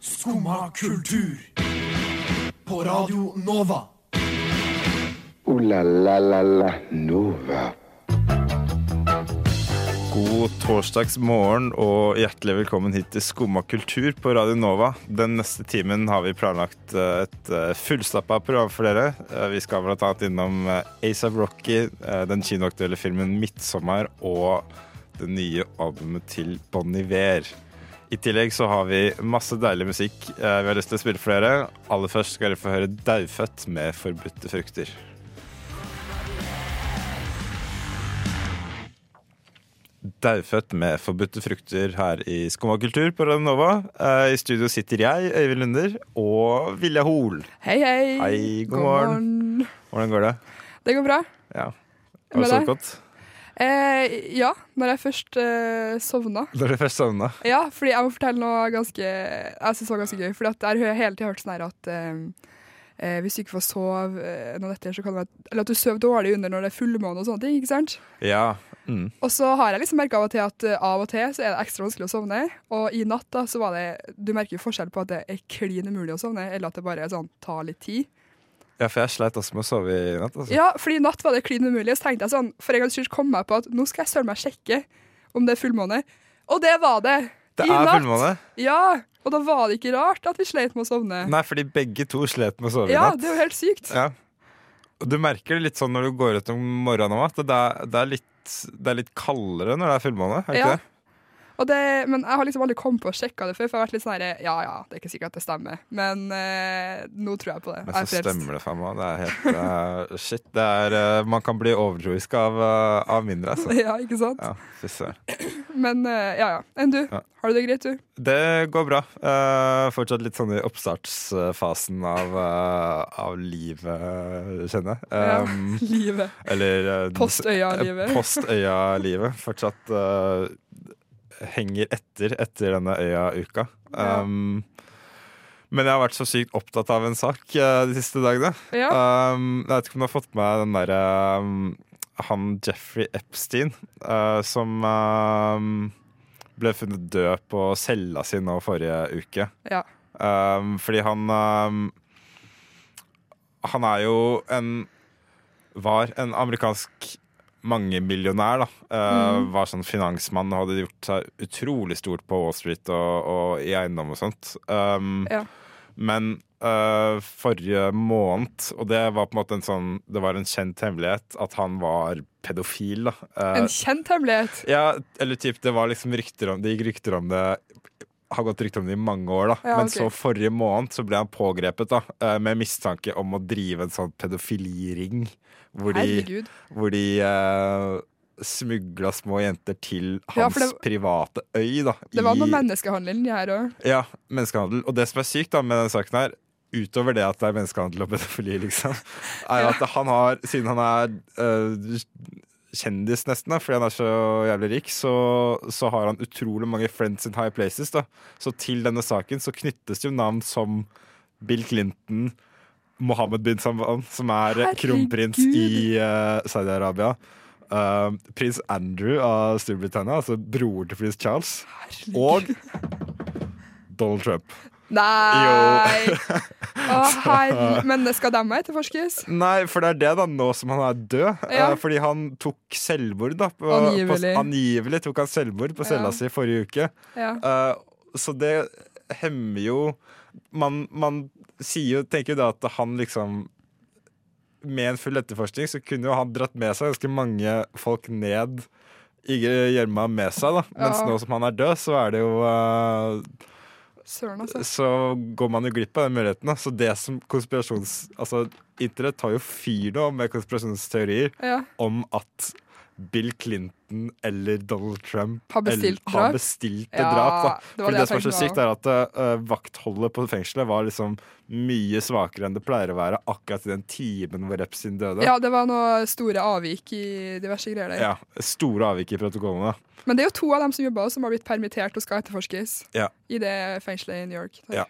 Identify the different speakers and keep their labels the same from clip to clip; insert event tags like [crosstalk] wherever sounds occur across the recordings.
Speaker 1: Skumma kultur. På Radio Nova.
Speaker 2: Ooh la la la la Nova.
Speaker 3: God torsdagsmorgen og hjertelig velkommen hit til Skumma kultur på Radio Nova. Den neste timen har vi planlagt eh, et eh, fullstappa program for dere. Eh, Vi skal bl.a. innom ASAP Rocky, eh, den kinoaktuelle filmen 'Midtsommer' og det nye albumet til Bon Iver. I tillegg så har vi masse deilig musikk eh, vi har lyst til å spille for dere. Aller først skal dere få høre 'Daufødt' med 'Forbudte frukter'. Daufødt med forbudte frukter her i Skumma kultur på Radio Nova. Eh, I studio sitter jeg, Øyvind Lunder, og Vilja Hol.
Speaker 4: Hei, hei.
Speaker 3: Hei, god morgen. Hvordan går det?
Speaker 4: Det går bra.
Speaker 3: Ja. Har du
Speaker 4: Med
Speaker 3: sovet
Speaker 4: deg?
Speaker 3: godt?
Speaker 4: Eh, ja, når jeg først eh, sovna.
Speaker 3: Da er det først sovna.
Speaker 4: Ja, fordi jeg må fortelle noe ganske Jeg synes det var ganske gøy. Fordi at jeg har hele tiden hørt sånn her at eh, eh, hvis du ikke får sove eh, noe etter, så kan det være Eller at du sover dårlig under når det er fullmåne og sånne ting, ikke sant?
Speaker 3: Ja. Mm.
Speaker 4: Og så har jeg liksom merka av og til at eh, av og til så er det ekstra vanskelig å sovne. Og i natt da så var det Du merker jo forskjell på at det er klin umulig å sovne, eller at det bare er sånn tar litt tid.
Speaker 3: ja, for jeg sleit også med å sove i natt. Altså.
Speaker 4: Ja, fordi i natt var det klin umulig. Så tenkte jeg sånn, for en gangs skyld kom jeg på at nå skal jeg søren meg sjekke om det er fullmåne. Og det var det!
Speaker 3: det
Speaker 4: I
Speaker 3: er
Speaker 4: natt.
Speaker 3: fullmåne.
Speaker 4: Ja, og da var det ikke rart at vi slet med å sovne.
Speaker 3: Nei, fordi begge to slet med å sove
Speaker 4: ja,
Speaker 3: i natt.
Speaker 4: det er jo helt sykt.
Speaker 3: Ja. Og du merker det litt sånn når du går ut om morgenen om at det er, det er, litt, det er litt kaldere når det er fullmåne. Er det
Speaker 4: Ja.
Speaker 3: ikke det?
Speaker 4: Og det, men jeg har liksom aldri kommet på å sjekke det før, for jeg har vært litt sånn her Ja ja, det er ikke sikkert at det stemmer, men eh, nå tror jeg på det.
Speaker 3: Men så stemmer det faen meg. Det er helt eh, Shit. Det er, eh, man kan bli overtroisk av, eh, av mindre, altså.
Speaker 4: [laughs] Ja, ikke sant?
Speaker 3: Ja, fy søren.
Speaker 4: Men eh, ja ja. Enn du?
Speaker 3: Ja.
Speaker 4: Har du det greit, du? [laughs]
Speaker 3: Det går bra. Eh, fortsatt litt sånn i oppstartsfasen av, eh, av livet, kjenner jeg. Um,
Speaker 4: ja. Livet.
Speaker 3: Eller eh,
Speaker 4: [laughs] Postøya-livet.
Speaker 3: eh, [laughs] Postøya-livet. Fortsatt eh, henger etter etter denne øya-uka.
Speaker 4: Ja.
Speaker 3: Um, Men jeg har vært så sykt opptatt av en sak eh, de siste dagene.
Speaker 4: Ja.
Speaker 3: Um, jeg vet ikke om du har fått med den derre um, Han Jeffrey Epstein eh, som um, ble funnet død på cella si nå forrige uke. [laughs]
Speaker 4: ja.
Speaker 3: Um, fordi han um, Han er jo en Var en amerikansk mangemillionær, da. Uh,
Speaker 4: Mhm.
Speaker 3: Var sånn finansmann og hadde gjort seg utrolig stort på Wall Street og, og i eiendom og sånt. Um,
Speaker 4: Ja.
Speaker 3: Men øh, forrige måned, og det var på en måte en sånn Det var en kjent hemmelighet at han var pedofil, da. Eh,
Speaker 4: En kjent hemmelighet.
Speaker 3: ja, eller typ, det var liksom rykter om Det gikk rykter om det Har gått rykter om det i mange år, da.
Speaker 4: Ja,
Speaker 3: Men
Speaker 4: ok.
Speaker 3: så forrige måned så ble han pågrepet da eh, med mistanke om å drive en sånn pedofiliring. Hvor de,
Speaker 4: Herregud.
Speaker 3: hvor de eh, smugla små jenter til
Speaker 4: Ja,
Speaker 3: hans
Speaker 4: for det-
Speaker 3: private øy, da.
Speaker 4: Det var
Speaker 3: i-
Speaker 4: noe menneskehandel inni her òg.
Speaker 3: ja, menneskehandel. Og det som er sykt da med denne saken her, utover det at det er menneskehandel og pedofili, liksom, er jo at han har, siden han er øh, kjendis nesten, da, fordi han er så jævlig rik, så, så har han utrolig mange friends in high places. da. Så til denne saken så knyttes jo navn som Bill Clinton, Mohammed bin Salman, som er eh,
Speaker 4: Herregud.
Speaker 3: kronprins i eh, Saudi-Arabia. eh, prins Andrew av Storbritannia, altså bror til prins Charles. Og Donald Trump.
Speaker 4: Nei!
Speaker 3: [laughs]
Speaker 4: Å, herre... Men skal dem etterforskes?
Speaker 3: Nei, for det er det, da, nå som han er død.
Speaker 4: Ja.
Speaker 3: Eh, fordi han tok selvmord, da. På,
Speaker 4: Angivelig.
Speaker 3: På, angivelig tok han selvmord på cella
Speaker 4: Ja.
Speaker 3: si forrige uke.
Speaker 4: Ja.
Speaker 3: Eh, så det hemmer jo Man, man sier jo, tenker jo da at han liksom Med en full etterforskning så kunne jo han dratt med seg ganske mange folk ned i gjørma med seg, da. Mens
Speaker 4: Ja.
Speaker 3: nå som han er død, så er det jo eh,
Speaker 4: Søren, altså.
Speaker 3: så går man jo glipp av den muligheten. Da. Så det som konspirasjons... Altså, Internett tar jo fyr nå med konspirasjonsteorier
Speaker 4: Ja.
Speaker 3: om at Bill Clinton eller Donald Trump
Speaker 4: Har bestilt
Speaker 3: eller, har
Speaker 4: drap?
Speaker 3: bestilt et
Speaker 4: Ja,
Speaker 3: drap. Da.
Speaker 4: det var
Speaker 3: For
Speaker 4: det
Speaker 3: det,
Speaker 4: jeg
Speaker 3: som er så
Speaker 4: tenkte
Speaker 3: sykt, er at eh, vaktholdet på fengselet var liksom mye svakere enn det pleier å være akkurat i den timen hvor Epstein døde.
Speaker 4: ja, det var noe store avvik i diverse greier der.
Speaker 3: Ja, Store avvik i protokollene.
Speaker 4: Men det er jo to av dem som jobber, som har blitt permittert og skal etterforskes
Speaker 3: Ja.
Speaker 4: i det fengselet i New York. der.
Speaker 3: Ja.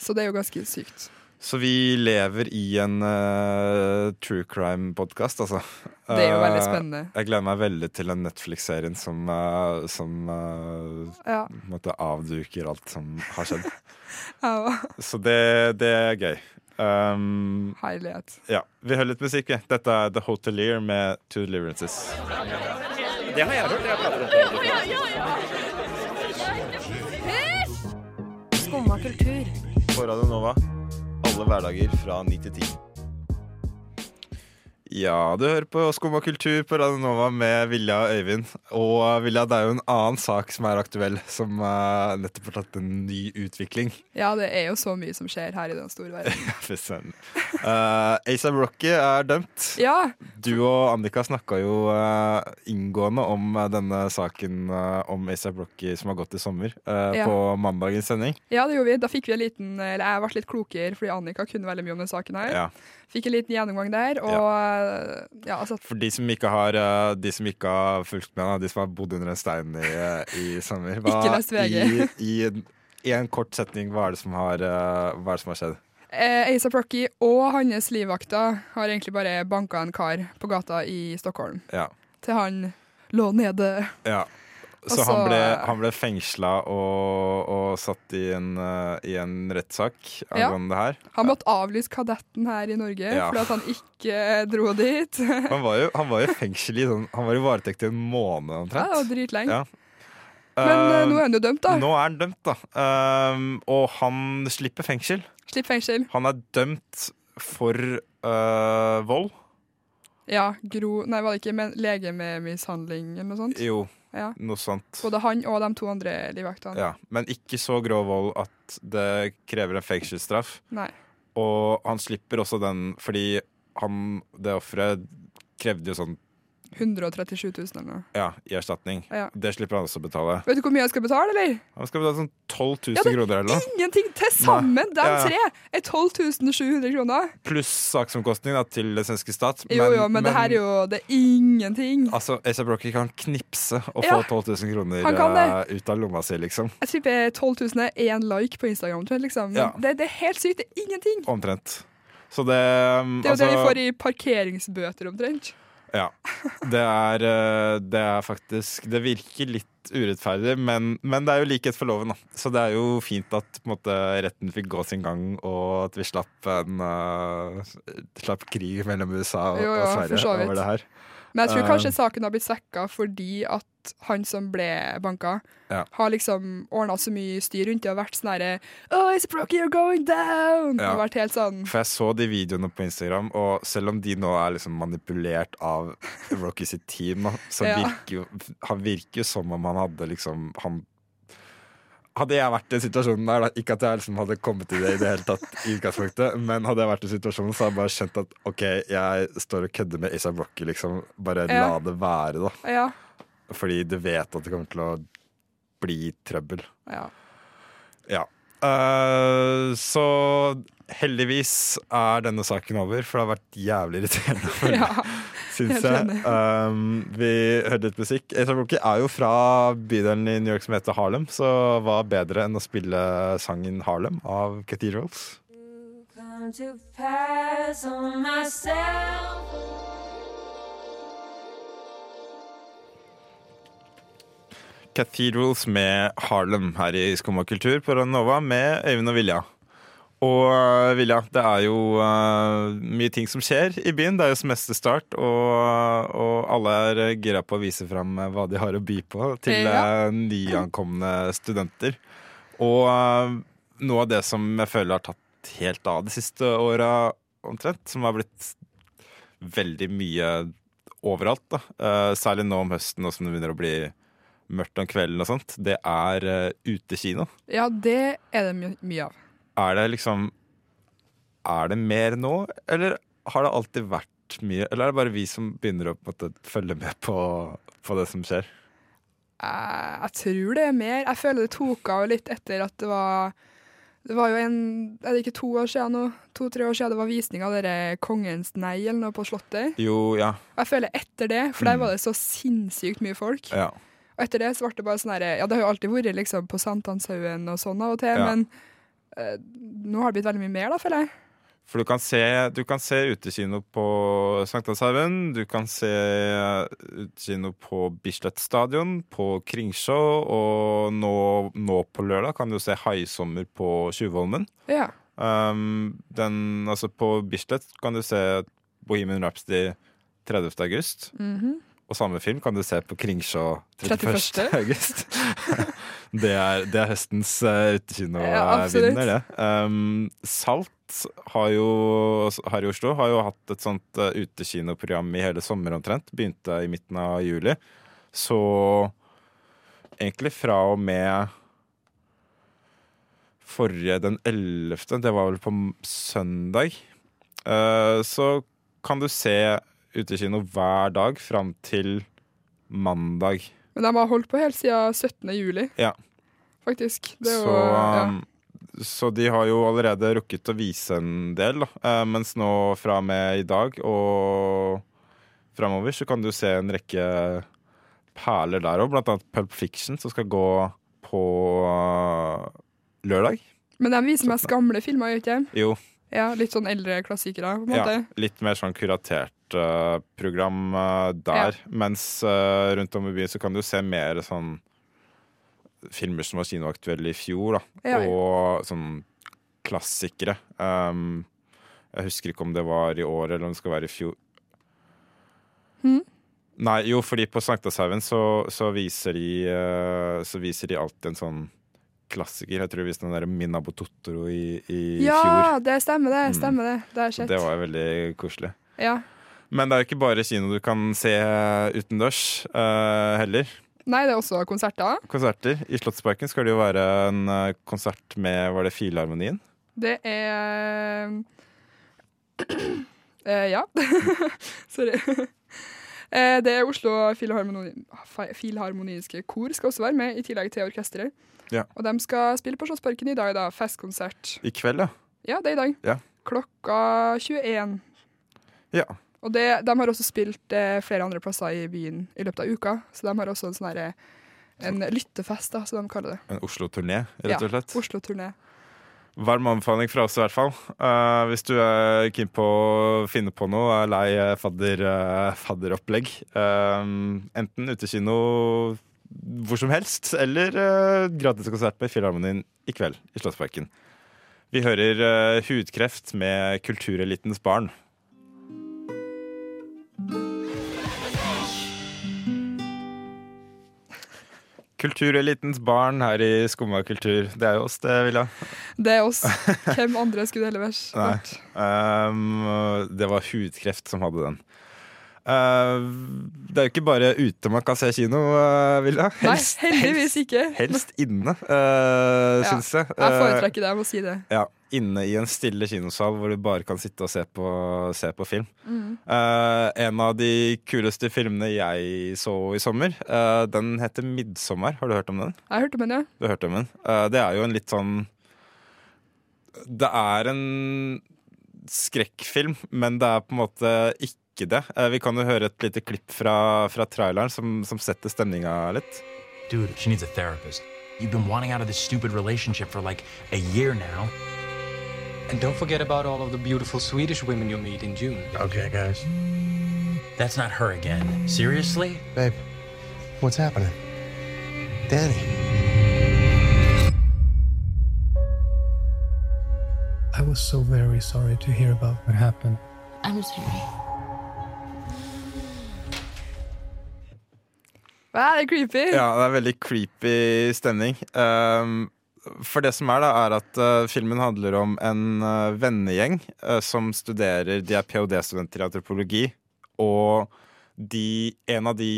Speaker 4: Så det er jo ganske sykt.
Speaker 3: Så vi lever i en eh, true crime-podkast, altså.
Speaker 4: Det er jo veldig
Speaker 3: Eh,
Speaker 4: spennende.
Speaker 3: Jeg gleder meg veldig til den Netflix-serien som, eh, som eh,
Speaker 4: Ja,
Speaker 3: på en måte avduker alt som har skjedd.
Speaker 4: jeg var-
Speaker 3: Så det, det er gøy. Um,
Speaker 4: Herlighet.
Speaker 3: ja, Vi hører litt musikk. vi. Dette er The Hotelier med Two Deliverances.
Speaker 5: Skumma kultur.
Speaker 6: På Radio Nova. Alle hverdager fra 9 til 10.
Speaker 3: Ja, du hører på Skum og kultur på Radio Nova med Vilja og Øyvind. Og eh, Vilja, det er jo en annen sak som er aktuell, som eh, nettopp har tatt en ny utvikling. [laughs]
Speaker 4: Ja, det er jo så mye som skjer her i den store verden.
Speaker 3: Fy søren. Eh, A$AP Rocky er dømt.
Speaker 4: Ja,
Speaker 3: Du og Annika snakka jo eh, inngående om eh, denne saken eh, om A$AP Rocky som har gått i sommer, eh,
Speaker 4: Ja.
Speaker 3: på mandagens sending.
Speaker 4: ja, det gjorde vi. Da fikk vi en liten Eller jeg ble litt klokere, fordi Annika kunne veldig mye om den saken her.
Speaker 3: Ja.
Speaker 4: Fikk en liten gjennomgang der, og ja, altså
Speaker 3: For de som ikke har, eh, de som ikke har fulgt med, da, de som har bodd under en stein i, eh, i sommer hva-
Speaker 4: Ikke lest VG.
Speaker 3: I, i, en, I en kort setning, hva er det som har, eh, hva er det som har skjedd?
Speaker 4: Eh, A$AP Rocky og hans livvakter har egentlig bare banka en kar på gata i Stockholm.
Speaker 3: Ja.
Speaker 4: Til han lå nede.
Speaker 3: ja. Så
Speaker 4: Altså-
Speaker 3: han ble, han ble fengsla og, og satt i en, eh, i en rettssak
Speaker 4: Ja.
Speaker 3: angående det her.
Speaker 4: Han måtte avlyse kadetten her i Norge
Speaker 3: Ja.
Speaker 4: fordi at han ikke dro dit. [laughs]
Speaker 3: Han var jo, han var jo i fengsel i sånn, han var i varetekt i en måned
Speaker 4: Ja, det var
Speaker 3: omtrent.
Speaker 4: dritlenge.
Speaker 3: Ja.
Speaker 4: Men eh,
Speaker 3: Eh,
Speaker 4: nå er han jo dømt, da.
Speaker 3: nå er han dømt, da. Ehm, og han slipper fengsel.
Speaker 4: Slipp fengsel.
Speaker 3: Han er dømt for eh, vold.
Speaker 4: Ja, gro Nei, var det ikke men lege med mishandling eller noe sånt?
Speaker 3: Jo,
Speaker 4: Ja.
Speaker 3: noe sånt.
Speaker 4: Både han og de to andre livvaktene.
Speaker 3: Ja. Men ikke så grov vold at det krever en fengselsstraff.
Speaker 4: Nei.
Speaker 3: Og han slipper også den fordi han, det offeret, krevde jo sånn
Speaker 4: 137 000 eller noe.
Speaker 3: ja, i erstatning.
Speaker 4: Ja.
Speaker 3: Det slipper han også å betale.
Speaker 4: Vet du hvor mye jeg skal betale, eller?
Speaker 3: Han skal betale sånn 12 000
Speaker 4: Ja, det-
Speaker 3: kroner eller noe.
Speaker 4: Ingenting! Til sammen, de
Speaker 3: Ja, ja.
Speaker 4: tre, er 12 700 kroner.
Speaker 3: pluss saksomkostning da, til den svenske stat.
Speaker 4: Jo, jo, men, det her er jo Det er ingenting.
Speaker 3: Altså, A$AP Rocky kan knipse og
Speaker 4: Ja,
Speaker 3: få 12 000 kroner
Speaker 4: han kan det.
Speaker 3: eh, ut av lomma si, liksom.
Speaker 4: Jeg tipper 12 000 er én like på Instagram. Tror jeg, liksom. Men
Speaker 3: Ja.
Speaker 4: det, det er helt sykt. Det er ingenting.
Speaker 3: Omtrent. Så det mm, altså,
Speaker 4: Det er jo det vi får i parkeringsbøter, omtrent.
Speaker 3: Ja. Det er, eh, det er faktisk Det virker litt urettferdig, men, men det er jo likhet for loven, da. Så det er jo fint at på en måte, retten fikk gå sin gang, og at vi slapp en eh, Slapp krig mellom USA og,
Speaker 4: Jo, jo,
Speaker 3: og
Speaker 4: for så
Speaker 3: Sverige
Speaker 4: vidt.
Speaker 3: over det her.
Speaker 4: Men jeg tror
Speaker 3: Eh.
Speaker 4: kanskje saken har blitt svekka fordi at han som ble banka,
Speaker 3: Ja.
Speaker 4: har liksom ordna så mye styr rundt det og vært sånn herre Oh, it's Brocky, you're going down!
Speaker 3: Ja.
Speaker 4: Og vært helt sånn
Speaker 3: For jeg så de videoene på Instagram, og selv om de nå er liksom manipulert av Rocky sitt team, da, så
Speaker 4: [laughs] Ja.
Speaker 3: virker jo, han virker jo som om han hadde liksom han hadde jeg vært i den situasjonen der, da, ikke at jeg liksom hadde kommet til det i det hele tatt, i utgangspunktet, men hadde jeg vært i situasjonen, så hadde jeg bare skjønt at OK, jeg står og kødder med A$AP Rocky, liksom. Bare
Speaker 4: Ja.
Speaker 3: la det være, da.
Speaker 4: Ja.
Speaker 3: Fordi du vet at det kommer til å bli trøbbel.
Speaker 4: ja.
Speaker 3: Ja. Eh, så heldigvis er denne saken over, for det har vært jævlig irriterende,
Speaker 4: [laughs]
Speaker 3: å følge,
Speaker 4: ja.
Speaker 3: syns
Speaker 4: helt
Speaker 3: jeg.
Speaker 4: enig.
Speaker 3: Um, vi hørte litt musikk. A$AP Rocky er jo fra bydelen i New York som heter Harlem, så hva bedre enn å spille sangen 'Harlem' av Cathedrals?
Speaker 5: Come to pass on myself.
Speaker 3: Cathedrals med Harlem her i Skumma kultur på Ranova med Øyvind og Vilja. Og øh, Vilja, det er jo øh, mye ting som skjer i byen. Det er jo semesterstart, og, og alle er øh, gira på å vise fram øh, hva de har å by på til
Speaker 4: Ja.
Speaker 3: øh, nyankomne studenter. Og øh, noe av det som jeg føler har tatt helt av de siste åra omtrent, som har blitt veldig mye overalt, da. eh, særlig nå om høsten, nå som det begynner å bli mørkt om kvelden og sånt, det er eh, utekino.
Speaker 4: ja, det er det my- mye av.
Speaker 3: Er det liksom Er det mer nå, eller har det alltid vært mye? Eller er det bare vi som begynner å på en måte, følge med på, på det som skjer?
Speaker 4: Eh, Jeg, jeg tror det er mer. Jeg føler det tok av litt etter at det var Det var jo en Er det ikke to år siden nå? To-tre år siden det var visning av dere Kongens nei eller noe på Slottet.
Speaker 3: Jo, ja.
Speaker 4: Og jeg føler etter det, for der var det så sinnssykt mye folk.
Speaker 3: Mm. ja.
Speaker 4: Og etter det så ble det bare sånn herre Ja, det har jo alltid vært liksom på Sankthanshaugen og sånn av og til,
Speaker 3: Ja.
Speaker 4: men eh, nå har det blitt veldig mye mer, da, føler jeg.
Speaker 3: For du kan se, du kan se utekino på Sankthanshaugen, du kan se utekino på Bislett stadion, på Kringsjå, og nå, nå på lørdag kan du se Haisommer på Tjuvholmen.
Speaker 4: Ja.
Speaker 3: Um, den, altså på Bislett kan du se Bohemian Rhapsody 30. august. Og samme film kan du se på Kringsjå 31.
Speaker 4: 31.
Speaker 3: august. det, er, det er høstens uh,
Speaker 4: Ja, absolutt.
Speaker 3: utekino-vinner, det. Um, Salt har jo, altså, her i Oslo har jo hatt et sånt uh, utekinoprogram i hele sommer omtrent. Begynte i midten av juli. Så egentlig fra og med forrige, den 11., det var vel på m- søndag, eh, så kan du se utekino hver dag fram til mandag.
Speaker 4: Men de har holdt på helt siden 17. juli,
Speaker 3: Ja.
Speaker 4: faktisk. Det er
Speaker 3: Så,
Speaker 4: jo, ja.
Speaker 3: um, så de har jo allerede rukket å vise en del, da. Eh, mens nå fra og med i dag og framover så kan du se en rekke perler der òg, blant annet Pulp Fiction, som skal gå på eh, lørdag.
Speaker 4: Men de viser mest gamle filmer, gjør ikke de?
Speaker 3: Jo,
Speaker 4: Ja, litt sånn eldre klassikere, på en måte.
Speaker 3: Ja, litt mer sånn kuratert eh, program eh, der. Mens eh, rundt om i byen så kan du se mer sånn filmer som var kinoaktuelle i fjor, da.
Speaker 4: Ja, ja.
Speaker 3: Og sånn klassikere. Um, jeg husker ikke om det var i år eller om det skal være i fjor.
Speaker 4: Hm?
Speaker 3: Nei, jo, fordi på Sankthanshaugen så, så viser de eh, Så viser de alltid en sånn klassiker. Jeg tror de viste den der Minabo Totoro i, i fjor.
Speaker 4: Ja, det stemmer det. stemmer Det Det har jeg
Speaker 3: Så
Speaker 4: sett.
Speaker 3: det var jo veldig koselig.
Speaker 4: ja.
Speaker 3: Men det er jo ikke bare kino du kan se utendørs eh, heller.
Speaker 4: Nei, det er også konserter.
Speaker 3: Konserter. I Slottsparken skal det jo være en eh, konsert med Var det Filharmonien?
Speaker 4: Det er eh, [clears throat] Ja. [laughs] Sorry. Eh, det er Oslo Filharmoni Fi- Filharmoniske Kor skal også være med, i tillegg til orkesteret.
Speaker 3: Ja.
Speaker 4: Og de skal spille på Slottsparken i dag, da. Festkonsert.
Speaker 3: I kveld, ja.
Speaker 4: Ja, det er i dag.
Speaker 3: Ja.
Speaker 4: Klokka 21.
Speaker 3: Ja.
Speaker 4: Og det, de har også spilt eh, flere andre plasser i byen i løpet av uka, så de har også en sånn herre en lyttefest, da, som de kaller det.
Speaker 3: En Oslo-turné, rett og slett.
Speaker 4: Ja, Oslo-turné.
Speaker 3: Varm anbefaling fra oss i hvert fall. Eh, hvis du er keen på å finne på noe, er lei eh, fadder, eh, fadderopplegg. Eh, enten utekino hvor som helst, eller eh, gratiskonsert med Filharmonien i kveld i Slottsparken. Vi hører eh, Hudkreft med Kulturelitens barn. Kulturelitens barn her i Skumma kultur. Det er jo oss, det, Vilja.
Speaker 4: Det er
Speaker 3: [laughs]
Speaker 4: oss. Hvem andre skulle det heller vært?
Speaker 3: Nei. Um, det var hudkreft som hadde den. Uh, det er jo ikke bare ute man kan se kino, uh, Vilja. Helst,
Speaker 4: Nei, heldigvis ikke.
Speaker 3: helst inne, uh,
Speaker 4: Ja,
Speaker 3: syns jeg.
Speaker 4: Jeg
Speaker 3: Uh,
Speaker 4: foretrekker det, jeg må si det.
Speaker 3: ja, inne i en stille kinosal hvor du bare kan sitte og se på, se på film.
Speaker 4: Mm.
Speaker 3: Eh, en av de kuleste filmene jeg så i sommer, eh, den heter 'Midtsommer'. Har du hørt om den?
Speaker 4: Jeg hørte om den, ja.
Speaker 3: Du hørte om den. Eh, det er jo en litt sånn Det er en skrekkfilm, men det er på en måte ikke det. Eh, vi kan jo høre et lite klipp fra, fra traileren som, som setter stemninga litt.
Speaker 7: Dude, she needs a therapist. You've been wanting out of this stupid relationship for like a year now.
Speaker 8: And don't forget about all of the beautiful Swedish women you'll meet in June.
Speaker 7: Okay, guys. That's not her again. Seriously?
Speaker 9: Babe, what's happening? Danny. I was so very sorry to hear about what happened.
Speaker 10: I'm sorry.
Speaker 4: Hva er det creepy?
Speaker 3: Ja, det er veldig creepy stemning. Um, for det som er, da, er at uh, filmen handler om en uh, vennegjeng uh, som studerer De er ph.d.-studenter i antropologi, og de, en av de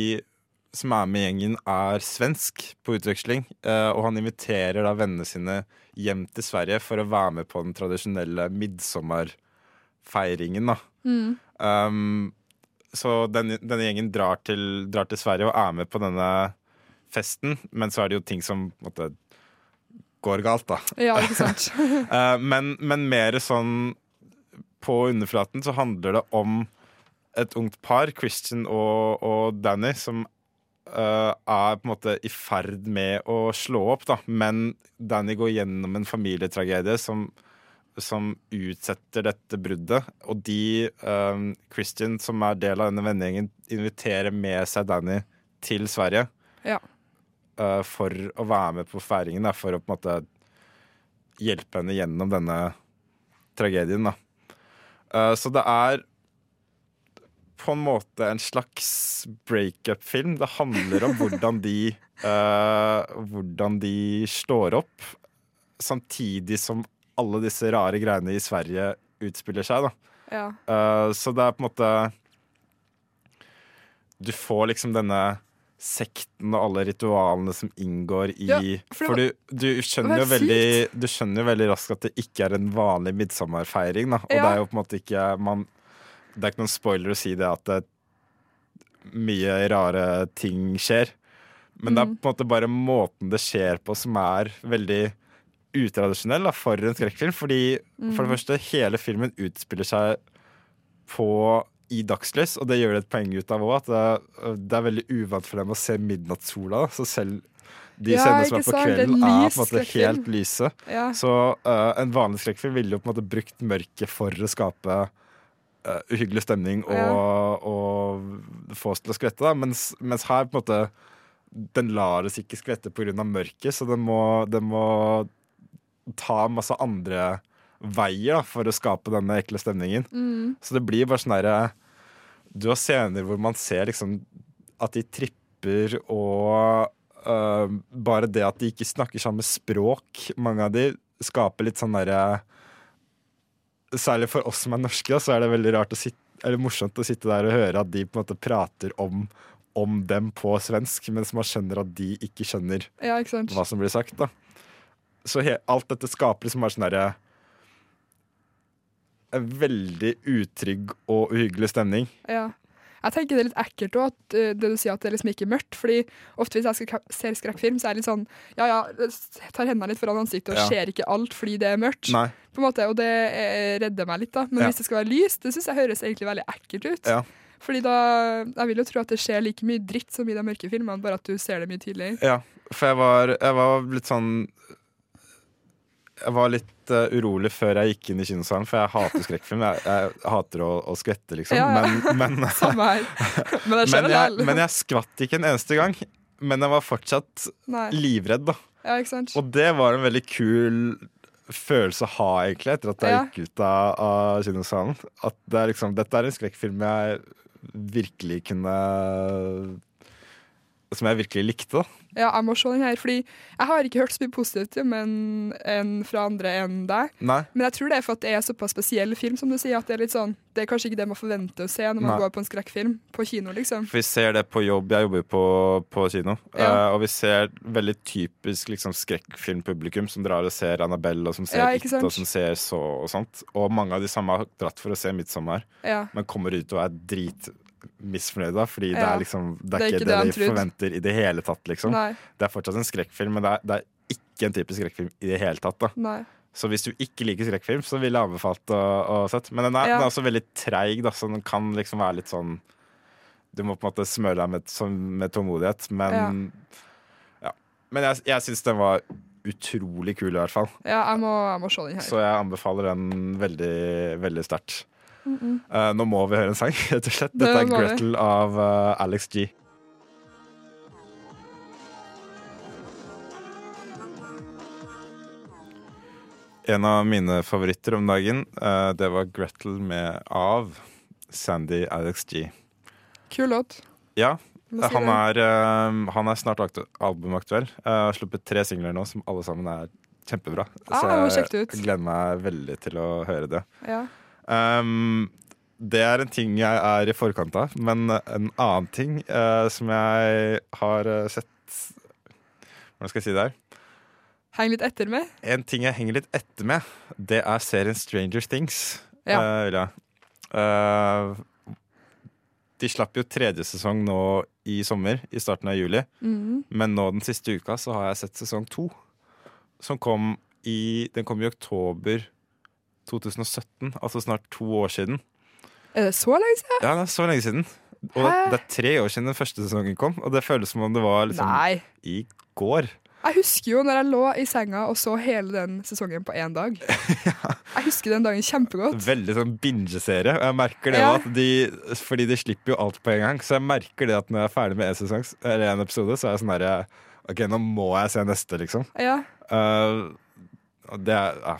Speaker 3: som er med i gjengen, er svensk på utveksling. Uh, og han inviterer da vennene sine hjem til Sverige for å være med på den tradisjonelle midtsommerfeiringen, da. Um, så den, denne gjengen drar til, drar til Sverige og er med på denne festen, men så er det jo ting som på en måte, går galt, da.
Speaker 4: Ja, ikke sant. [laughs]
Speaker 3: Eh, men, men mer sånn på underflaten så handler det om et ungt par, Christian og, og Danny, som eh, er på en måte i ferd med å slå opp, da. Men Danny går gjennom en familietragedie som som utsetter dette bruddet. Og de, um, Christian, som er del av denne vennegjengen, inviterer med seg Danny til Sverige
Speaker 4: Ja.
Speaker 3: eh, for å være med på feiringen. Da, for å på en måte hjelpe henne gjennom denne tragedien. Da. Eh, så det er på en måte en slags breakup-film. Det handler om hvordan de eh, Hvordan de slår opp, samtidig som alle disse rare greiene i Sverige utspiller seg. da
Speaker 4: ja.
Speaker 3: Eh, så det er på en måte Du får liksom denne sekten og alle ritualene som inngår i
Speaker 4: Ja,
Speaker 3: For
Speaker 4: for
Speaker 3: du,
Speaker 4: det
Speaker 3: du, skjønner jo
Speaker 4: det var helt
Speaker 3: veldig, du skjønner jo veldig raskt at det ikke er en vanlig midsommerfeiring. Da. Og
Speaker 4: Ja.
Speaker 3: det er jo på en måte ikke man, Det er ikke noen spoiler å si det at det, mye rare ting skjer. Men det er
Speaker 4: Mm.
Speaker 3: på en måte bare måten det skjer på som er veldig utradisjonell da, for en skrekkfilm. Fordi
Speaker 4: Mm.
Speaker 3: for det første, hele filmen utspiller seg på i dagslys, og det gjør det et poeng ut av òg. At det er, det er veldig uvant for dem å se midnattssola. da, Så selv de
Speaker 4: Ja,
Speaker 3: scenene som er
Speaker 4: ikke
Speaker 3: på
Speaker 4: sant, det er
Speaker 3: kvelden, er på en
Speaker 4: lys
Speaker 3: måte
Speaker 4: skrekkfilm.
Speaker 3: helt lyse.
Speaker 4: ja.
Speaker 3: Så eh, en vanlig skrekkfilm ville jo på en måte brukt mørket for å skape eh, uhyggelig stemning og, og få oss til å skvette, da. Mens, mens her på en måte den lar oss ikke skvette pga. mørket, så den må, den må ta masse andre veier da, for å skape denne ekle stemningen. Så det blir bare sånn derre Du har scener hvor man ser liksom at de tripper og øh, bare det at de ikke snakker samme språk, mange av de, skaper litt sånn derre Særlig for oss som er norske, da, så er det veldig rart å sitte, eller morsomt å sitte der og høre at de på en måte prater om, om dem på svensk, mens man skjønner at de ikke skjønner
Speaker 4: ja, ikke sant.
Speaker 3: hva som blir sagt. da. Så he alt dette skaper liksom bare sånn derre En veldig utrygg og uhyggelig stemning.
Speaker 4: Ja. Jeg tenker det er litt ekkelt òg, det du sier at det liksom ikke er mørkt. Fordi ofte hvis jeg skal ka- ser skrekkfilm, så er det litt sånn ja ja, jeg tar hendene litt foran ansiktet og
Speaker 3: Ja.
Speaker 4: ser ikke alt fordi det er mørkt.
Speaker 3: Nei.
Speaker 4: På en måte, Og det eh, redder meg litt, da. Men
Speaker 3: Ja.
Speaker 4: hvis det skal være lyst, det syns jeg høres egentlig veldig ekkelt ut.
Speaker 3: Ja.
Speaker 4: Fordi da Jeg vil jo tro at det skjer like mye dritt som i de mørke filmene, bare at du ser det
Speaker 3: [laughs]
Speaker 4: mye tydeligere.
Speaker 3: Ja, for jeg var, jeg var litt sånn Jeg var litt eh, urolig før jeg gikk inn i kinosalen, for jeg hater skrekkfilm. Jeg, jeg hater å, å skvette, liksom.
Speaker 4: Ja, ja.
Speaker 3: Men, men,
Speaker 4: Samme her. Men det skjer
Speaker 3: men, jeg,
Speaker 4: likevel.
Speaker 3: men jeg skvatt ikke en eneste gang. Men jeg var fortsatt
Speaker 4: Nei.
Speaker 3: livredd, da.
Speaker 4: Ja, ikke sant?
Speaker 3: Og det var en veldig kul følelse å ha, egentlig, etter at jeg
Speaker 4: Ja.
Speaker 3: gikk ut av, av kinosalen. At det er liksom, dette er en skrekkfilm jeg virkelig kunne Som jeg virkelig likte, da.
Speaker 4: Ja, jeg må se den her, fordi jeg har ikke hørt så mye positivt om en, en fra andre enn deg.
Speaker 3: Nei.
Speaker 4: Men jeg tror det er for at det er såpass spesiell film, som du sier. At det er litt sånn Det er kanskje ikke det man forventer å se når man
Speaker 3: Nei.
Speaker 4: går på en skrekkfilm på kino, liksom.
Speaker 3: For vi ser det på jobb. Jeg jobber på, på kino.
Speaker 4: Ja.
Speaker 3: Eh, og vi ser veldig typisk liksom, skrekkfilmpublikum som drar og ser Annabelle, og som ser
Speaker 4: Ja, ikke
Speaker 3: It,
Speaker 4: sant?
Speaker 3: og som ser så og sånt. Og mange av de samme har dratt for å se Midtsommer,
Speaker 4: Ja.
Speaker 3: men kommer ut og er dritmisfornøyde. Fordi det
Speaker 4: Ja.
Speaker 3: er liksom Det er ikke det,
Speaker 4: han
Speaker 3: de
Speaker 4: trodde.
Speaker 3: forventer i det hele tatt, liksom.
Speaker 4: Nei.
Speaker 3: Det er fortsatt en skrekkfilm, men det er, det er ikke en typisk skrekkfilm i det hele tatt. da
Speaker 4: Nei.
Speaker 3: Så hvis du ikke liker skrekkfilm, så ville jeg anbefalt å, å sette. Men den er,
Speaker 4: Ja.
Speaker 3: den er også veldig treig, da, så den kan liksom være litt sånn Du må på en måte smøre deg med, som, med tålmodighet, men ja. Men jeg, jeg syns den var utrolig kul, i hvert fall.
Speaker 4: Ja, jeg må, jeg må se den her.
Speaker 3: Så jeg anbefaler den veldig, veldig sterkt. Eh, nå må vi høre en sang, [laughs] rett og slett. Dette er
Speaker 4: Det må vi.
Speaker 3: Gretel av eh, Alex G. En av mine favoritter om dagen, eh, det var Gretel med av Sandy Alex G.
Speaker 4: Kul låt.
Speaker 3: Ja,
Speaker 4: Må si
Speaker 3: han
Speaker 4: det.
Speaker 3: er, eh, han er snart aktu albumaktuell. Eh, Har sluppet tre singler nå som alle sammen er kjempebra.
Speaker 4: Ah, det var kjekt ut.
Speaker 3: gleder meg veldig til å høre det.
Speaker 4: Ja.
Speaker 3: Ehm, det er en ting jeg er i forkant av, men en annen ting eh, som jeg har eh, sett Hvordan skal jeg si det her?
Speaker 4: Heng litt etter med.
Speaker 3: En ting jeg henger litt etter med, det er serien Stranger Things.
Speaker 4: Ja.
Speaker 3: eh, vil jeg. Eh, de slapp jo tredje sesong nå i sommer, i starten av juli.
Speaker 4: Mhm.
Speaker 3: Men nå den siste uka så har jeg sett sesong to. Som kom i, den kom i oktober 2017, altså snart to år siden.
Speaker 4: Er det så lenge siden?
Speaker 3: Ja, det er så lenge siden. Og det,
Speaker 4: Hæ?
Speaker 3: det er tre år siden den første sesongen kom, og det føles som om det var liksom
Speaker 4: Nei.
Speaker 3: i liksom går.
Speaker 4: Jeg husker jo når jeg lå i senga og så hele den sesongen på én
Speaker 3: [laughs]
Speaker 4: dag. Jeg husker den dagen kjempegodt.
Speaker 3: Veldig sånn bingeserie. Og Jeg merker det
Speaker 4: Ja.
Speaker 3: at de, Fordi de slipper jo alt på en gang. Så jeg merker det at når jeg er ferdig med en, sesong, eller en episode, så er jeg sånn herre OK, nå må jeg se neste, liksom.
Speaker 4: Ja,
Speaker 3: Eh, og det er ja,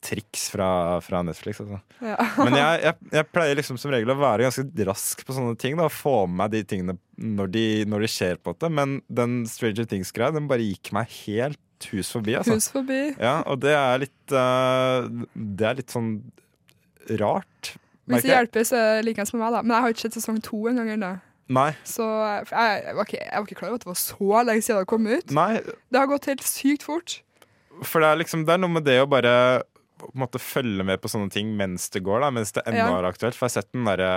Speaker 3: triks fra, fra Netflix, altså.
Speaker 4: ja.
Speaker 3: Men jeg, jeg, jeg pleier liksom som regel å være ganske rask på sånne ting. Da, og få med meg de tingene når de, når de skjer, på en måte. Men den Stranger Things-greia Den bare gikk meg helt hus forbi. Altså.
Speaker 4: Hus forbi.
Speaker 3: Ja, og det er litt eh, Det er litt sånn rart.
Speaker 4: Hvis det
Speaker 3: merker jeg.
Speaker 4: hjelper, så er det likeens med meg, da. Men jeg har ikke sett sesong to engang ennå.
Speaker 3: Nei.
Speaker 4: Så for jeg, jeg, var ikke, jeg var ikke klar over at det var så lenge siden det kom ut.
Speaker 3: Nei,
Speaker 4: Det har gått helt sykt fort.
Speaker 3: for det er liksom Det er noe med det å bare på en måte følge med på sånne ting mens det går, da, mens det ennå
Speaker 4: Ja.
Speaker 3: er aktuelt. For jeg har sett den derre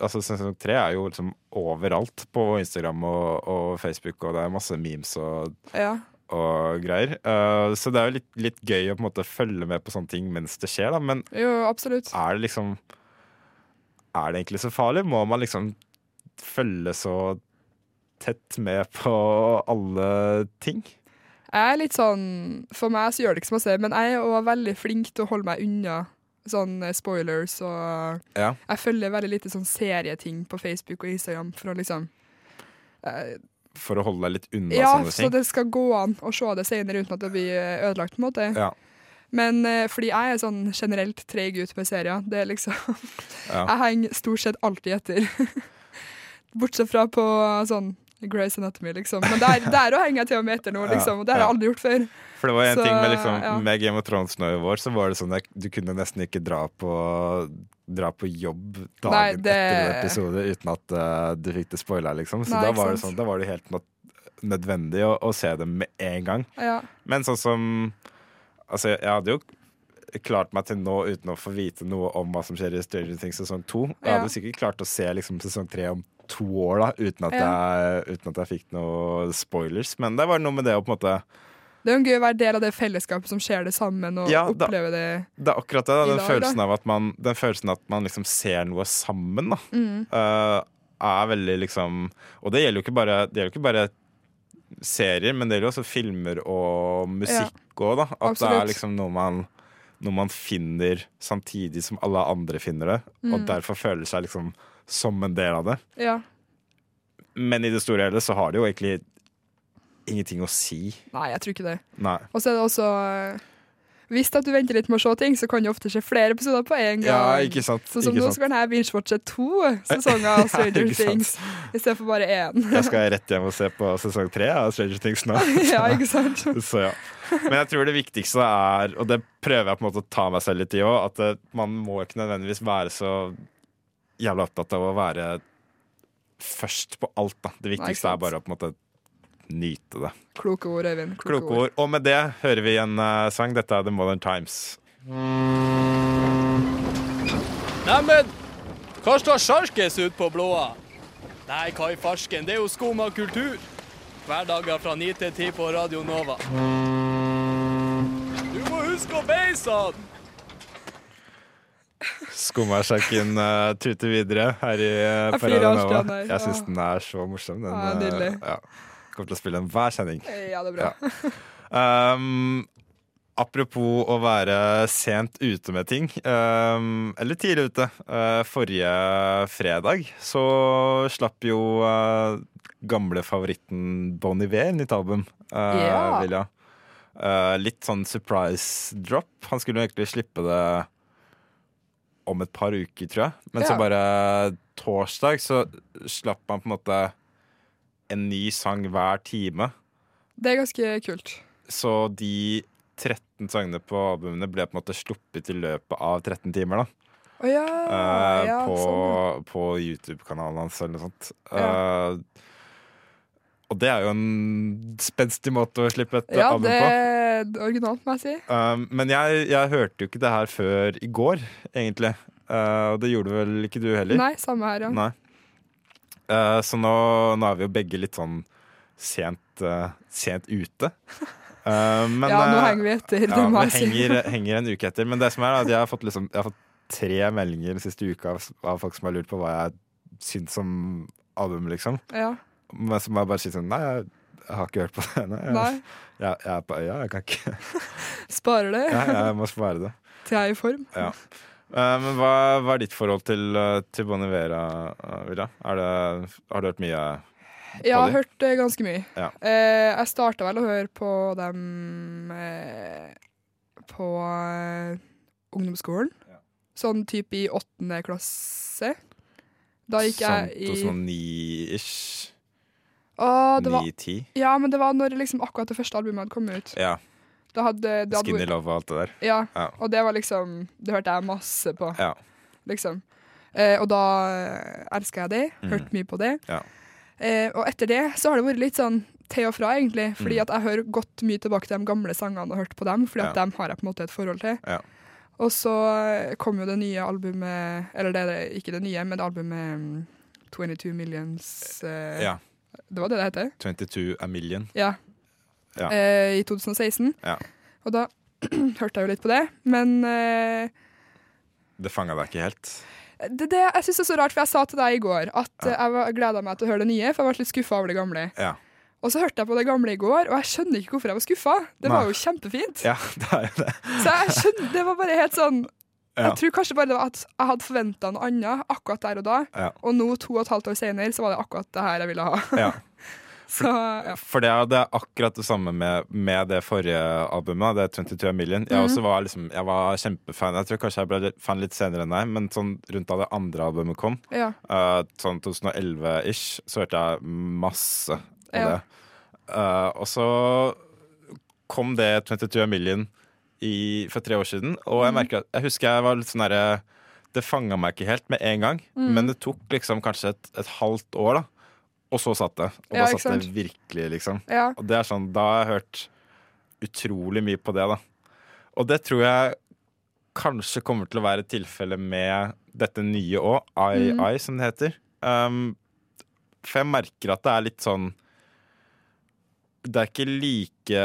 Speaker 3: altså, Sesong tre er jo liksom overalt på Instagram og, og Facebook, og det er masse memes og
Speaker 4: Ja.
Speaker 3: og greier. Eh, så det er jo litt, litt gøy å på en måte følge med på sånne ting mens det skjer, da. Men
Speaker 4: Jo, absolutt.
Speaker 3: er det liksom Er det egentlig så farlig? Må man liksom følge så tett med på alle ting?
Speaker 4: Jeg er litt sånn For meg så gjør det ikke så masse, men jeg er også veldig flink til å holde meg unna sånn eh, spoilers og
Speaker 3: Ja.
Speaker 4: Jeg følger veldig lite sånn serieting på Facebook og Instagram for å liksom eh,
Speaker 3: For å holde deg litt unna
Speaker 4: Ja,
Speaker 3: sånne
Speaker 4: så
Speaker 3: ting?
Speaker 4: det skal gå an å se det senere uten at det blir eh, ødelagt, på en måte.
Speaker 3: Ja.
Speaker 4: Men eh, fordi jeg er sånn generelt treig ut med serier, det er liksom [laughs]
Speaker 3: Ja.
Speaker 4: Jeg henger stort sett alltid etter. [laughs] Bortsett fra på sånn Grey's Anatomy, liksom. Men
Speaker 3: [laughs]
Speaker 4: der, der også henger jeg til og med etter nå,
Speaker 3: Ja,
Speaker 4: liksom. Og det har jeg
Speaker 3: ja.
Speaker 4: aldri gjort før.
Speaker 3: For det var en
Speaker 4: så,
Speaker 3: ting med, liksom,
Speaker 4: ja.
Speaker 3: med Game of Thrones nå i vår, så var det sånn at du kunne nesten ikke dra på Dra på jobb dagen
Speaker 4: Nei, det-
Speaker 3: etter en episode uten at eh, du fikk det spoila, liksom. Så
Speaker 4: Nei,
Speaker 3: da
Speaker 4: ikke
Speaker 3: var det
Speaker 4: sant.
Speaker 3: sånn, da var det helt nød- nødvendig å, å se dem med en gang.
Speaker 4: Ja.
Speaker 3: Men sånn som Altså, jeg hadde jo klart meg til nå uten å få vite noe om hva som skjer i Stranger Things sesong to. Jeg
Speaker 4: Ja.
Speaker 3: hadde jo sikkert klart å se liksom sesong tre om to år da, uten at, jeg, uten at jeg fikk noe spoilers. Men det var noe med det å på en måte
Speaker 4: Det er jo gøy å være del av det fellesskapet som ser det sammen, og
Speaker 3: Ja, da-
Speaker 4: oppleve det.
Speaker 3: Det er akkurat det. Da,
Speaker 4: I
Speaker 3: den,
Speaker 4: lag, da.
Speaker 3: følelsen av at man, den følelsen at man liksom ser noe sammen, da.
Speaker 4: Mm.
Speaker 3: eh, er veldig liksom Og det gjelder jo ikke bare, det gjelder jo ikke bare serier, men det gjelder jo også filmer og musikk òg, da. At det
Speaker 4: Absolutt.
Speaker 3: er liksom noe man, noe man finner samtidig som alle andre finner det,
Speaker 4: Mm.
Speaker 3: og derfor føler seg liksom som en del av det.
Speaker 4: Ja.
Speaker 3: Men i det store og hele så har det jo egentlig ingenting å si.
Speaker 4: Nei, jeg tror ikke det.
Speaker 3: Nei.
Speaker 4: Og så er det også eh, Hvis at du venter litt med å se ting, så kan det ofte skje flere episoder på en gang.
Speaker 3: Ja, ikke sant.
Speaker 4: Sånn som
Speaker 3: ikke
Speaker 4: nå
Speaker 3: sant.
Speaker 4: så kan jeg binge-watche to
Speaker 3: [laughs]
Speaker 4: sesonger av Stranger
Speaker 3: ikke sant.
Speaker 4: Things i stedet for bare én. [laughs]
Speaker 3: Jeg skal rett hjem og se på sesong tre av Stranger Things nå.
Speaker 4: ja, ikke sant?
Speaker 3: Så ja. Men jeg tror det viktigste er, og det prøver jeg på en måte å ta meg selv litt i òg, at eh, man må ikke nødvendigvis være så jævla opptatt av å være først på alt, da. Det
Speaker 4: Nei, ikke
Speaker 3: viktigste
Speaker 4: sant.
Speaker 3: er bare å på en måte nyte det.
Speaker 4: Kloke ord, Øyvind.
Speaker 3: Kloke ord. Og med det hører vi en eh, sang. Dette er The Modern Times.
Speaker 10: Neimen, hva står sjarkes ut på blåa? Nei, hva i farsken, det er jo skum av kultur. Hverdager fra 9 til 10 på Radio Nova. Du må huske å beise han!
Speaker 3: Skummasjakken uh, tuter videre her i uh,
Speaker 4: Jeg flirer av
Speaker 3: Nova.
Speaker 4: den her.
Speaker 3: Jeg syns
Speaker 4: Ja.
Speaker 3: den er så morsom. Den,
Speaker 4: Ja, nydelig.
Speaker 3: eh, ja. Kommer til å spille den hver sending.
Speaker 4: Ja, det er bra.
Speaker 3: Um, apropos å være sent ute med ting, um, eller tidlig ute. Uh, forrige fredag så slapp jo uh, gamle favoritten Bon Iver nytt album. Uh,
Speaker 4: Ja.
Speaker 3: Vilja. Uh, litt sånn surprise drop. Han skulle jo egentlig slippe det om et par uker, tror jeg. Men så
Speaker 4: Ja.
Speaker 3: bare torsdag så slapp han på en måte en ny sang hver time.
Speaker 4: Det er ganske kult.
Speaker 3: Så de 13 sangene på albumene ble på en måte sluppet i løpet av 13 timer. da
Speaker 4: Å ja,
Speaker 3: Eh,
Speaker 4: Ah, ja
Speaker 3: På,
Speaker 4: sånn.
Speaker 3: på YouTube-kanalen hans eller noe sånt.
Speaker 4: Ja.
Speaker 3: Eh, og det er jo en spenstig måte å slippe et
Speaker 4: Ja,
Speaker 3: album
Speaker 4: det
Speaker 3: på.
Speaker 4: er originalt, må jeg si.
Speaker 3: Eh, men jeg, jeg hørte jo ikke det her før i går, egentlig. Eh, Og det gjorde vel ikke du heller?
Speaker 4: Nei, samme her, ja.
Speaker 3: Nei. Eh, så nå, nå er vi jo begge litt sånn sent, eh, sent
Speaker 4: [laughs]
Speaker 3: ute. Eh, men,
Speaker 4: ja, nå
Speaker 3: eh,
Speaker 4: henger vi etter, det
Speaker 3: ja,
Speaker 4: må
Speaker 3: vi
Speaker 4: jeg si.
Speaker 3: henger, henger en uke etter. Men det som er, er at jeg har fått, liksom, jeg har fått tre meldinger den siste uka av, av folk som har lurt på hva jeg syns om albumet, liksom.
Speaker 4: Ja.
Speaker 3: Men som jeg bare sier sånn Nei, jeg, Jeg har ikke hørt på det ennå.
Speaker 4: Nei.
Speaker 3: Jeg, jeg, jeg er på øya, jeg kan ikke
Speaker 4: Sparer det
Speaker 3: Nei, Jeg må spare det.
Speaker 4: til jeg er i form.
Speaker 3: Ja. Eh, Men hva, hva er ditt forhold til, eh, til Bon Ivera, eh, Vilja? Er det, har du hørt mye?
Speaker 4: Jeg har
Speaker 3: Polly?
Speaker 4: hørt eh, ganske mye.
Speaker 3: Ja.
Speaker 4: Eh, jeg starta vel å høre på dem eh, på eh, ungdomsskolen. Sånn type i åttende klasse. Da gikk jeg i
Speaker 3: Sånn 2009-ish?
Speaker 4: Å, det var,
Speaker 3: 9-10?
Speaker 4: ja, men det var når liksom akkurat det første albumet hadde kommet ut.
Speaker 3: Ja.
Speaker 4: Da hadde, da hadde
Speaker 3: Skinny Love og alt det der.
Speaker 4: Ja,
Speaker 3: Ja.
Speaker 4: og det var liksom Det hørte jeg masse på.
Speaker 3: Ja.
Speaker 4: liksom. Eh, og da elska jeg det, hørte mye på det.
Speaker 3: Mm. Ja.
Speaker 4: Eh, og etter det så har det vært litt sånn til og fra, egentlig.
Speaker 3: Mm.
Speaker 4: Fordi at jeg hører godt mye tilbake til de gamle sangene og hørte på dem, fordi at
Speaker 3: Ja.
Speaker 4: dem har jeg på en måte et forhold til.
Speaker 3: Ja.
Speaker 4: Og så eh, kom jo det nye albumet Eller det er det- ikke det nye, men det albumet mm, 22 Millions eh,
Speaker 3: ja.
Speaker 4: Det var det det heter?
Speaker 3: 22 a million.
Speaker 4: Ja.
Speaker 3: Ja.
Speaker 4: Eh, I 2016.
Speaker 3: Ja.
Speaker 4: Og da [clears throat] hørte jeg jo litt på det, men eh,
Speaker 3: Det fanga deg ikke helt.
Speaker 4: Det, det, jeg synes det er så rart, for jeg sa til deg i går at eh, jeg gleda meg til å høre det nye, for jeg ble litt skuffa over det gamle.
Speaker 3: Ja.
Speaker 4: Og så hørte jeg på det gamle i går, og jeg skjønner ikke hvorfor jeg var skuffa. Det
Speaker 3: Nei.
Speaker 4: var jo kjempefint.
Speaker 3: Ja, [laughs] det er jo det.
Speaker 4: Så jeg skjønner, det var bare helt sånn
Speaker 3: Ja.
Speaker 4: Jeg tror kanskje bare det var at jeg hadde forventa noe annet akkurat der og da,
Speaker 3: Ja.
Speaker 4: og nå, to og et halvt år senere, så var det akkurat det her jeg ville ha. [laughs]
Speaker 3: Ja.
Speaker 4: Så ja.
Speaker 3: For det er, det er akkurat det samme med, med det forrige albumet. Det er 22 A Million. Jeg, også var liksom, jeg var kjempefan. Jeg tror kanskje jeg ble litt- fan litt senere enn deg, men sånn rundt da det andre albumet kom,
Speaker 4: ja.
Speaker 3: eh, sånn 2011-ish, så hørte jeg masse av
Speaker 4: Ja.
Speaker 3: det. Eh, og så kom det 22 A Million i, for tre år siden, og
Speaker 4: Mm.
Speaker 3: jeg, merket, jeg husker jeg var litt sånn derre Det fanga meg ikke helt med en gang,
Speaker 4: Mm.
Speaker 3: men det tok liksom kanskje et, et halvt år, da. Og så satt det. Og da
Speaker 4: Ja, ikke
Speaker 3: satt det
Speaker 4: sant?
Speaker 3: virkelig, liksom.
Speaker 4: ja.
Speaker 3: Og det er sånn, da har jeg hørt utrolig mye på det, da. Og det tror jeg kanskje kommer til å være tilfellet med dette nye òg, I, I, som det heter. Um, for jeg merker at det er litt sånn Det er ikke like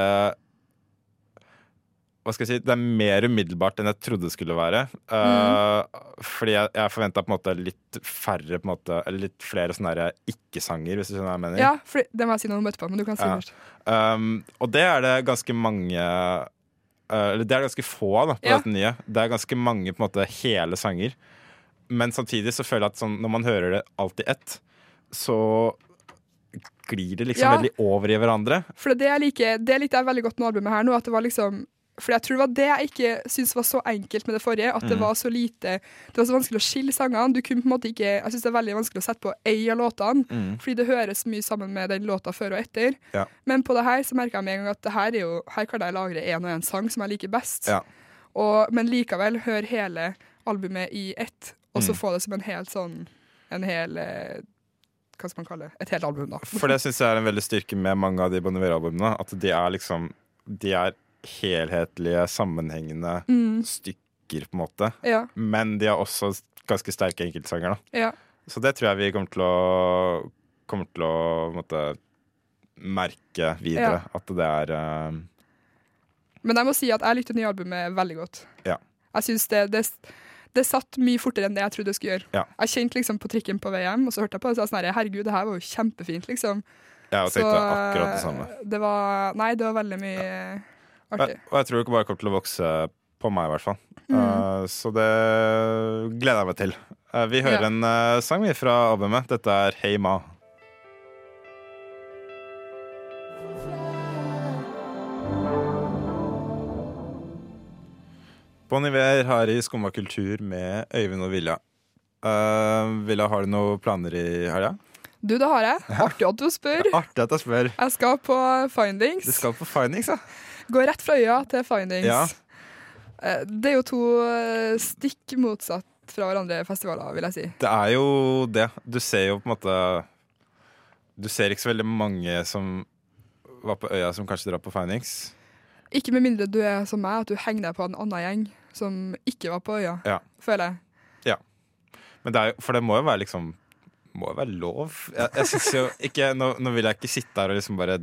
Speaker 3: Hva skal jeg si Det er mer umiddelbart enn jeg trodde det skulle være. Uh, Fordi jeg, jeg forventa på en måte litt færre på en måte, Eller litt flere sånne her ikke-sanger, hvis du skjønner hva jeg mener.
Speaker 4: ja for det må jeg si noe om etterpå, men du kan si
Speaker 3: Ja.
Speaker 4: først.
Speaker 3: Um, og det er det ganske mange uh, Eller det er det ganske få av da, på
Speaker 4: Ja.
Speaker 3: dette nye. Det er ganske mange på en måte hele sanger. Men samtidig så føler jeg at sånn, når man hører det alt i ett, så glir det liksom
Speaker 4: Ja.
Speaker 3: veldig over i hverandre.
Speaker 4: For det, er det jeg liker, det likte jeg veldig godt med albumet her nå, at det var liksom for jeg tror det var det jeg ikke syntes var så enkelt med det forrige. At det
Speaker 3: Mm.
Speaker 4: var så lite Det var så vanskelig å skille sangene. Du kunne på en måte ikke Jeg syns det er veldig vanskelig å sette på ei av låtene, fordi det høres mye sammen med den låta før og etter.
Speaker 3: Mm. Ja.
Speaker 4: Men på det her så merka jeg med en gang at det her er jo Her kan jeg lagre én og én sang som jeg liker best.
Speaker 3: Ja.
Speaker 4: Og, men likevel hør hele albumet i ett, og
Speaker 3: Mm.
Speaker 4: så få det som en helt sånn En hel eh, Hva skal man kalle det? Et helt album, da.
Speaker 3: For det syns jeg er en veldig styrke med mange av de Bon Iver-albumene. At de er liksom De er helhetlige, sammenhengende
Speaker 4: Mm.
Speaker 3: stykker, på en måte.
Speaker 4: Ja,
Speaker 3: Men de har også ganske sterke enkeltsanger, da.
Speaker 4: ja.
Speaker 3: Så det tror jeg vi kommer til å, kommer til å på en måte, merke videre. At det er eh,
Speaker 4: Men jeg må si at jeg lytter til nye albumet veldig godt.
Speaker 3: Ja.
Speaker 4: Jeg synes det, det, det satt mye fortere enn det jeg trodde det skulle gjøre.
Speaker 3: Ja.
Speaker 4: Jeg kjente liksom på trikken på vei hjem, og så hørte jeg på det, og så var jeg sånn her, herregud, det her var jo kjempefint, liksom.
Speaker 3: Jeg har
Speaker 4: så eh,
Speaker 3: tenkt akkurat det samme.
Speaker 4: det var Nei, det var veldig mye
Speaker 3: Og
Speaker 4: artig. Mm.
Speaker 3: og jeg tror det bare kommer til å vokse på meg, i hvert fall. Eh, så det gleder jeg meg til. Eh, vi hører
Speaker 4: Ja.
Speaker 3: en eh, sang vi fra albumet. Dette er Hey Ma. Bon Iver her i Skumma kultur med Øyvind og Vilja. Eh, Vilja, har du noen planer i helga?
Speaker 4: Du, det har jeg. Artig at du spør.
Speaker 3: Artig at jeg spør.
Speaker 4: Jeg skal på Findings.
Speaker 3: Du skal på Findings, da?
Speaker 4: Gå rett fra øya til Findings.
Speaker 3: Ja.
Speaker 4: Eh, Det er jo to eh, stikk motsatt fra hverandre festivaler, vil jeg si.
Speaker 3: Det er jo det. Du ser jo på en måte Du ser ikke så veldig mange som var på øya, som kanskje drar på Findings.
Speaker 4: Ikke med mindre du er som meg, at du henger deg på en annen gjeng som ikke var på øya,
Speaker 3: Ja.
Speaker 4: føler jeg.
Speaker 3: Men det er, jo- for det må jo være liksom Må jo være lov. Jeg, jeg synes jo ikke nå, nå vil jeg ikke sitte her og liksom bare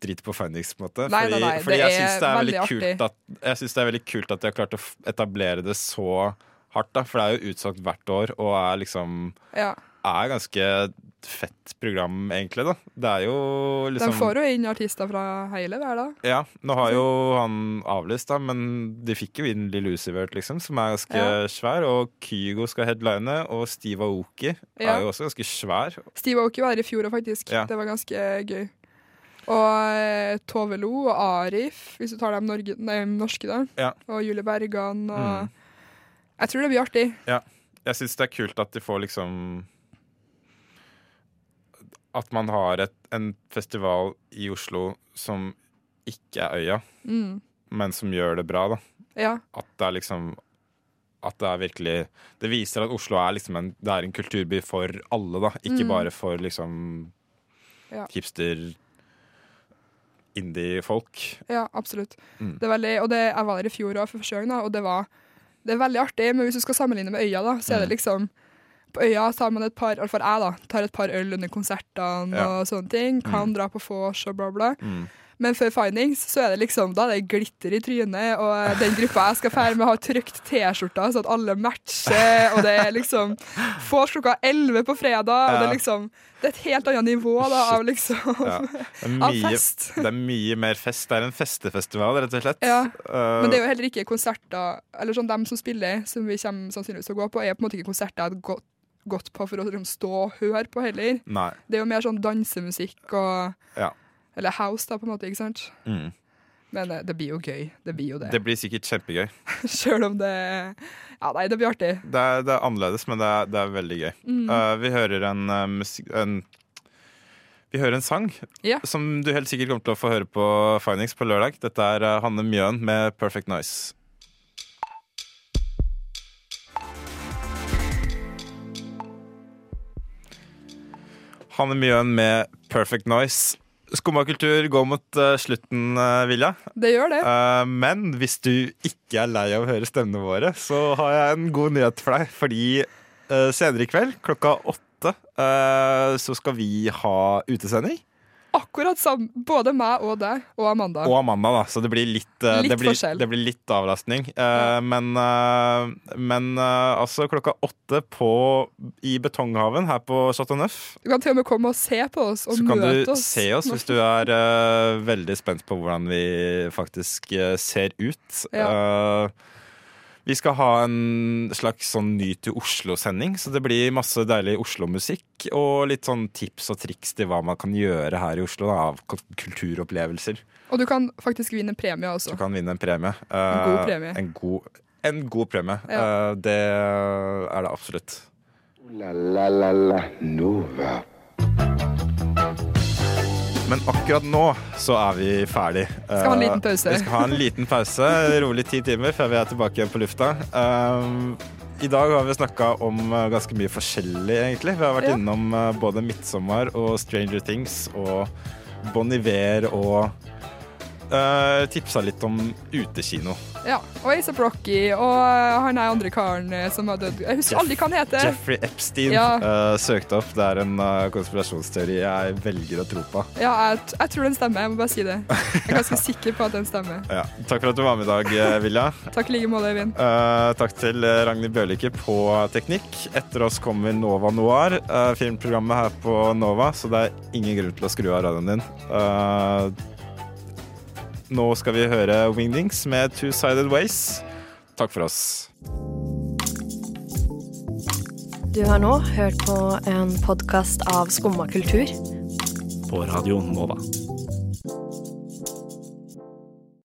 Speaker 3: drite på Findings, på en måte.
Speaker 4: Nei, nei, nei,
Speaker 3: fordi
Speaker 4: det
Speaker 3: jeg
Speaker 4: er
Speaker 3: syns det er veldig,
Speaker 4: veldig artig.
Speaker 3: kult at Jeg synes det er veldig kult at de har klart å f- etablere det så hardt, da. For det er jo utsolgt hvert år, og er liksom
Speaker 4: Ja.
Speaker 3: er ganske fett program, egentlig. da Det er jo
Speaker 4: De
Speaker 3: liksom
Speaker 4: får jo inn artister fra hele verden.
Speaker 3: Ja, nå har jo han avlyst, da, men de fikk jo inn Lill Usivert, liksom, som er ganske
Speaker 4: Ja.
Speaker 3: svær. Og Kygo skal headline, og Steve Aoki
Speaker 4: Ja.
Speaker 3: er jo også ganske svær.
Speaker 4: Steve Aoki var her i fjor òg, faktisk.
Speaker 3: Ja.
Speaker 4: Det var ganske gøy. Og eh, Tove Lo og Arif, hvis du tar dem Norge, nei, norske, da.
Speaker 3: Ja.
Speaker 4: Og Julie Bergan og
Speaker 3: Mm.
Speaker 4: Jeg tror det blir artig.
Speaker 3: Ja. Jeg syns det er kult at de får liksom At man har et, en festival i Oslo som ikke er øya,
Speaker 4: Mm.
Speaker 3: men som gjør det bra, da.
Speaker 4: Ja.
Speaker 3: At det er liksom At det er virkelig Det viser at Oslo er liksom en, det er en kulturby for alle, da. Ikke
Speaker 4: Mm.
Speaker 3: bare for liksom
Speaker 4: Ja.
Speaker 3: hipster Indie-folk.
Speaker 4: Ja, absolutt.
Speaker 3: Mm.
Speaker 4: Det er veldig, og det, jeg var der i fjor også for første gang, da, og det var det er veldig artig. Men hvis du skal sammenligne med Øya, da, så er det
Speaker 3: Mm.
Speaker 4: liksom På Øya tar man et par iallfall jeg, da, tar et par øl under konsertene
Speaker 3: Ja.
Speaker 4: og sånne ting. Kan dra på vors og bla, bla.
Speaker 3: Mm.
Speaker 4: Men før Findings så er det liksom, da er det glitter i trynet, og eh, den gruppa jeg skal fære med, har trykt T-skjorta så at alle matcher, og det er liksom Vors klokka 11 på fredag, og det
Speaker 3: Ja.
Speaker 4: er liksom Det er et helt annet nivå da, av liksom
Speaker 3: Ja. Det, er
Speaker 4: Av
Speaker 3: mye,
Speaker 4: fest.
Speaker 3: det er mye mer fest. Det er en festefestival, rett og slett.
Speaker 4: Ja.
Speaker 3: Eh,
Speaker 4: Men det er jo heller ikke konserter Eller sånn dem som spiller, som vi kommer sannsynligvis til å gå på, er på en måte ikke konserter jeg hadde gått, gått på for å liksom stå og høre på heller.
Speaker 3: Nei.
Speaker 4: Det er jo mer sånn dansemusikk og
Speaker 3: Ja.
Speaker 4: Eller house, da, på en måte, ikke sant?
Speaker 3: Mm.
Speaker 4: Men eh, det blir jo gøy. Det blir jo det.
Speaker 3: Det blir sikkert kjempegøy.
Speaker 4: [laughs] Sjøl om det Ja, nei, det blir artig.
Speaker 3: Det er, det er annerledes, men det er, det er veldig gøy.
Speaker 4: Mm.
Speaker 3: Eh, vi hører en, eh, musik- en Vi hører en sang
Speaker 4: Ja.
Speaker 3: som du helt sikkert kommer til å få høre på Findings på lørdag. Dette er eh, Hanne Mjøen med 'Perfect Noise'. Hanne Mjøen med 'Perfect Noise'. Skumma kultur går mot eh, slutten, eh, Vilja.
Speaker 4: Det gjør det.
Speaker 3: Eh, men hvis du ikke er lei av å høre stemmene våre, så har jeg en god nyhet for deg. Fordi eh, senere i kveld, klokka åtte, eh, så skal vi ha utesending.
Speaker 4: Akkurat sammen. Både meg og deg og Amanda.
Speaker 3: Og Amanda, da. Så det blir litt, eh,
Speaker 4: Litt
Speaker 3: det blir,
Speaker 4: forskjell.
Speaker 3: Det blir litt avlastning. Eh, Men, eh, men eh, altså klokka åtte på, i Betonghaven her på Chateau Neuf,
Speaker 4: Du kan til og med komme og se på oss og
Speaker 3: så kan
Speaker 4: møte
Speaker 3: du
Speaker 4: oss.
Speaker 3: se oss hvis du er eh, veldig spent på hvordan vi faktisk eh, ser ut. Eh, vi skal ha en slags sånn ny til Oslo-sending, så det blir masse deilig Oslo-musikk og litt sånn tips og triks til hva man kan gjøre her i Oslo da, av k- kulturopplevelser.
Speaker 4: Og du kan faktisk vinne premie
Speaker 3: Du
Speaker 4: også.
Speaker 3: kan vinne en premie.
Speaker 4: En god
Speaker 3: Eh,
Speaker 4: premie.
Speaker 3: En god, en god premie.
Speaker 4: Ja.
Speaker 3: Eh, det er det absolutt.
Speaker 2: La la la la Nova.
Speaker 3: Men akkurat nå så er vi ferdig.
Speaker 4: Skal ha en
Speaker 3: Eh,
Speaker 4: liten pause.
Speaker 3: Vi skal ha en liten pause, rolig ti timer, før vi er tilbake igjen på lufta. Eh, I dag har vi snakka om eh, ganske mye forskjellig, egentlig. Vi har vært
Speaker 4: Ja.
Speaker 3: innom eh, både 'Midtsommer' og 'Stranger Things' og Bon Iver og uh, tipsa litt om utekino.
Speaker 4: Ja, og Asap Rocky og eh, han er andre karen eh, som har dødd Jeg husker aldri hva han heter.
Speaker 3: Jeffrey Epstein
Speaker 4: Ja.
Speaker 3: eh, søkte opp. Det er en eh, konspirasjonsteori jeg velger å tro på.
Speaker 4: Ja, jeg, t- jeg tror den stemmer. Jeg må bare si det. Jeg er ganske sikker på at den stemmer.
Speaker 3: Ja. Takk for at du var med i dag, eh, Vilja.
Speaker 4: Takk i like måte, Øyvind.
Speaker 3: Eh, takk til eh, Ragnhild Bjørlikke på teknikk. Etter oss kommer Nova Noir, eh, filmprogrammet her på Nova, så det er ingen grunn til å skru av radioen din. Eh, nå skal vi høre Wingdings med Two Sided Ways. Takk for oss.
Speaker 11: Du har nå hørt på en podkast av Skumma kultur.
Speaker 12: På Radio Nova.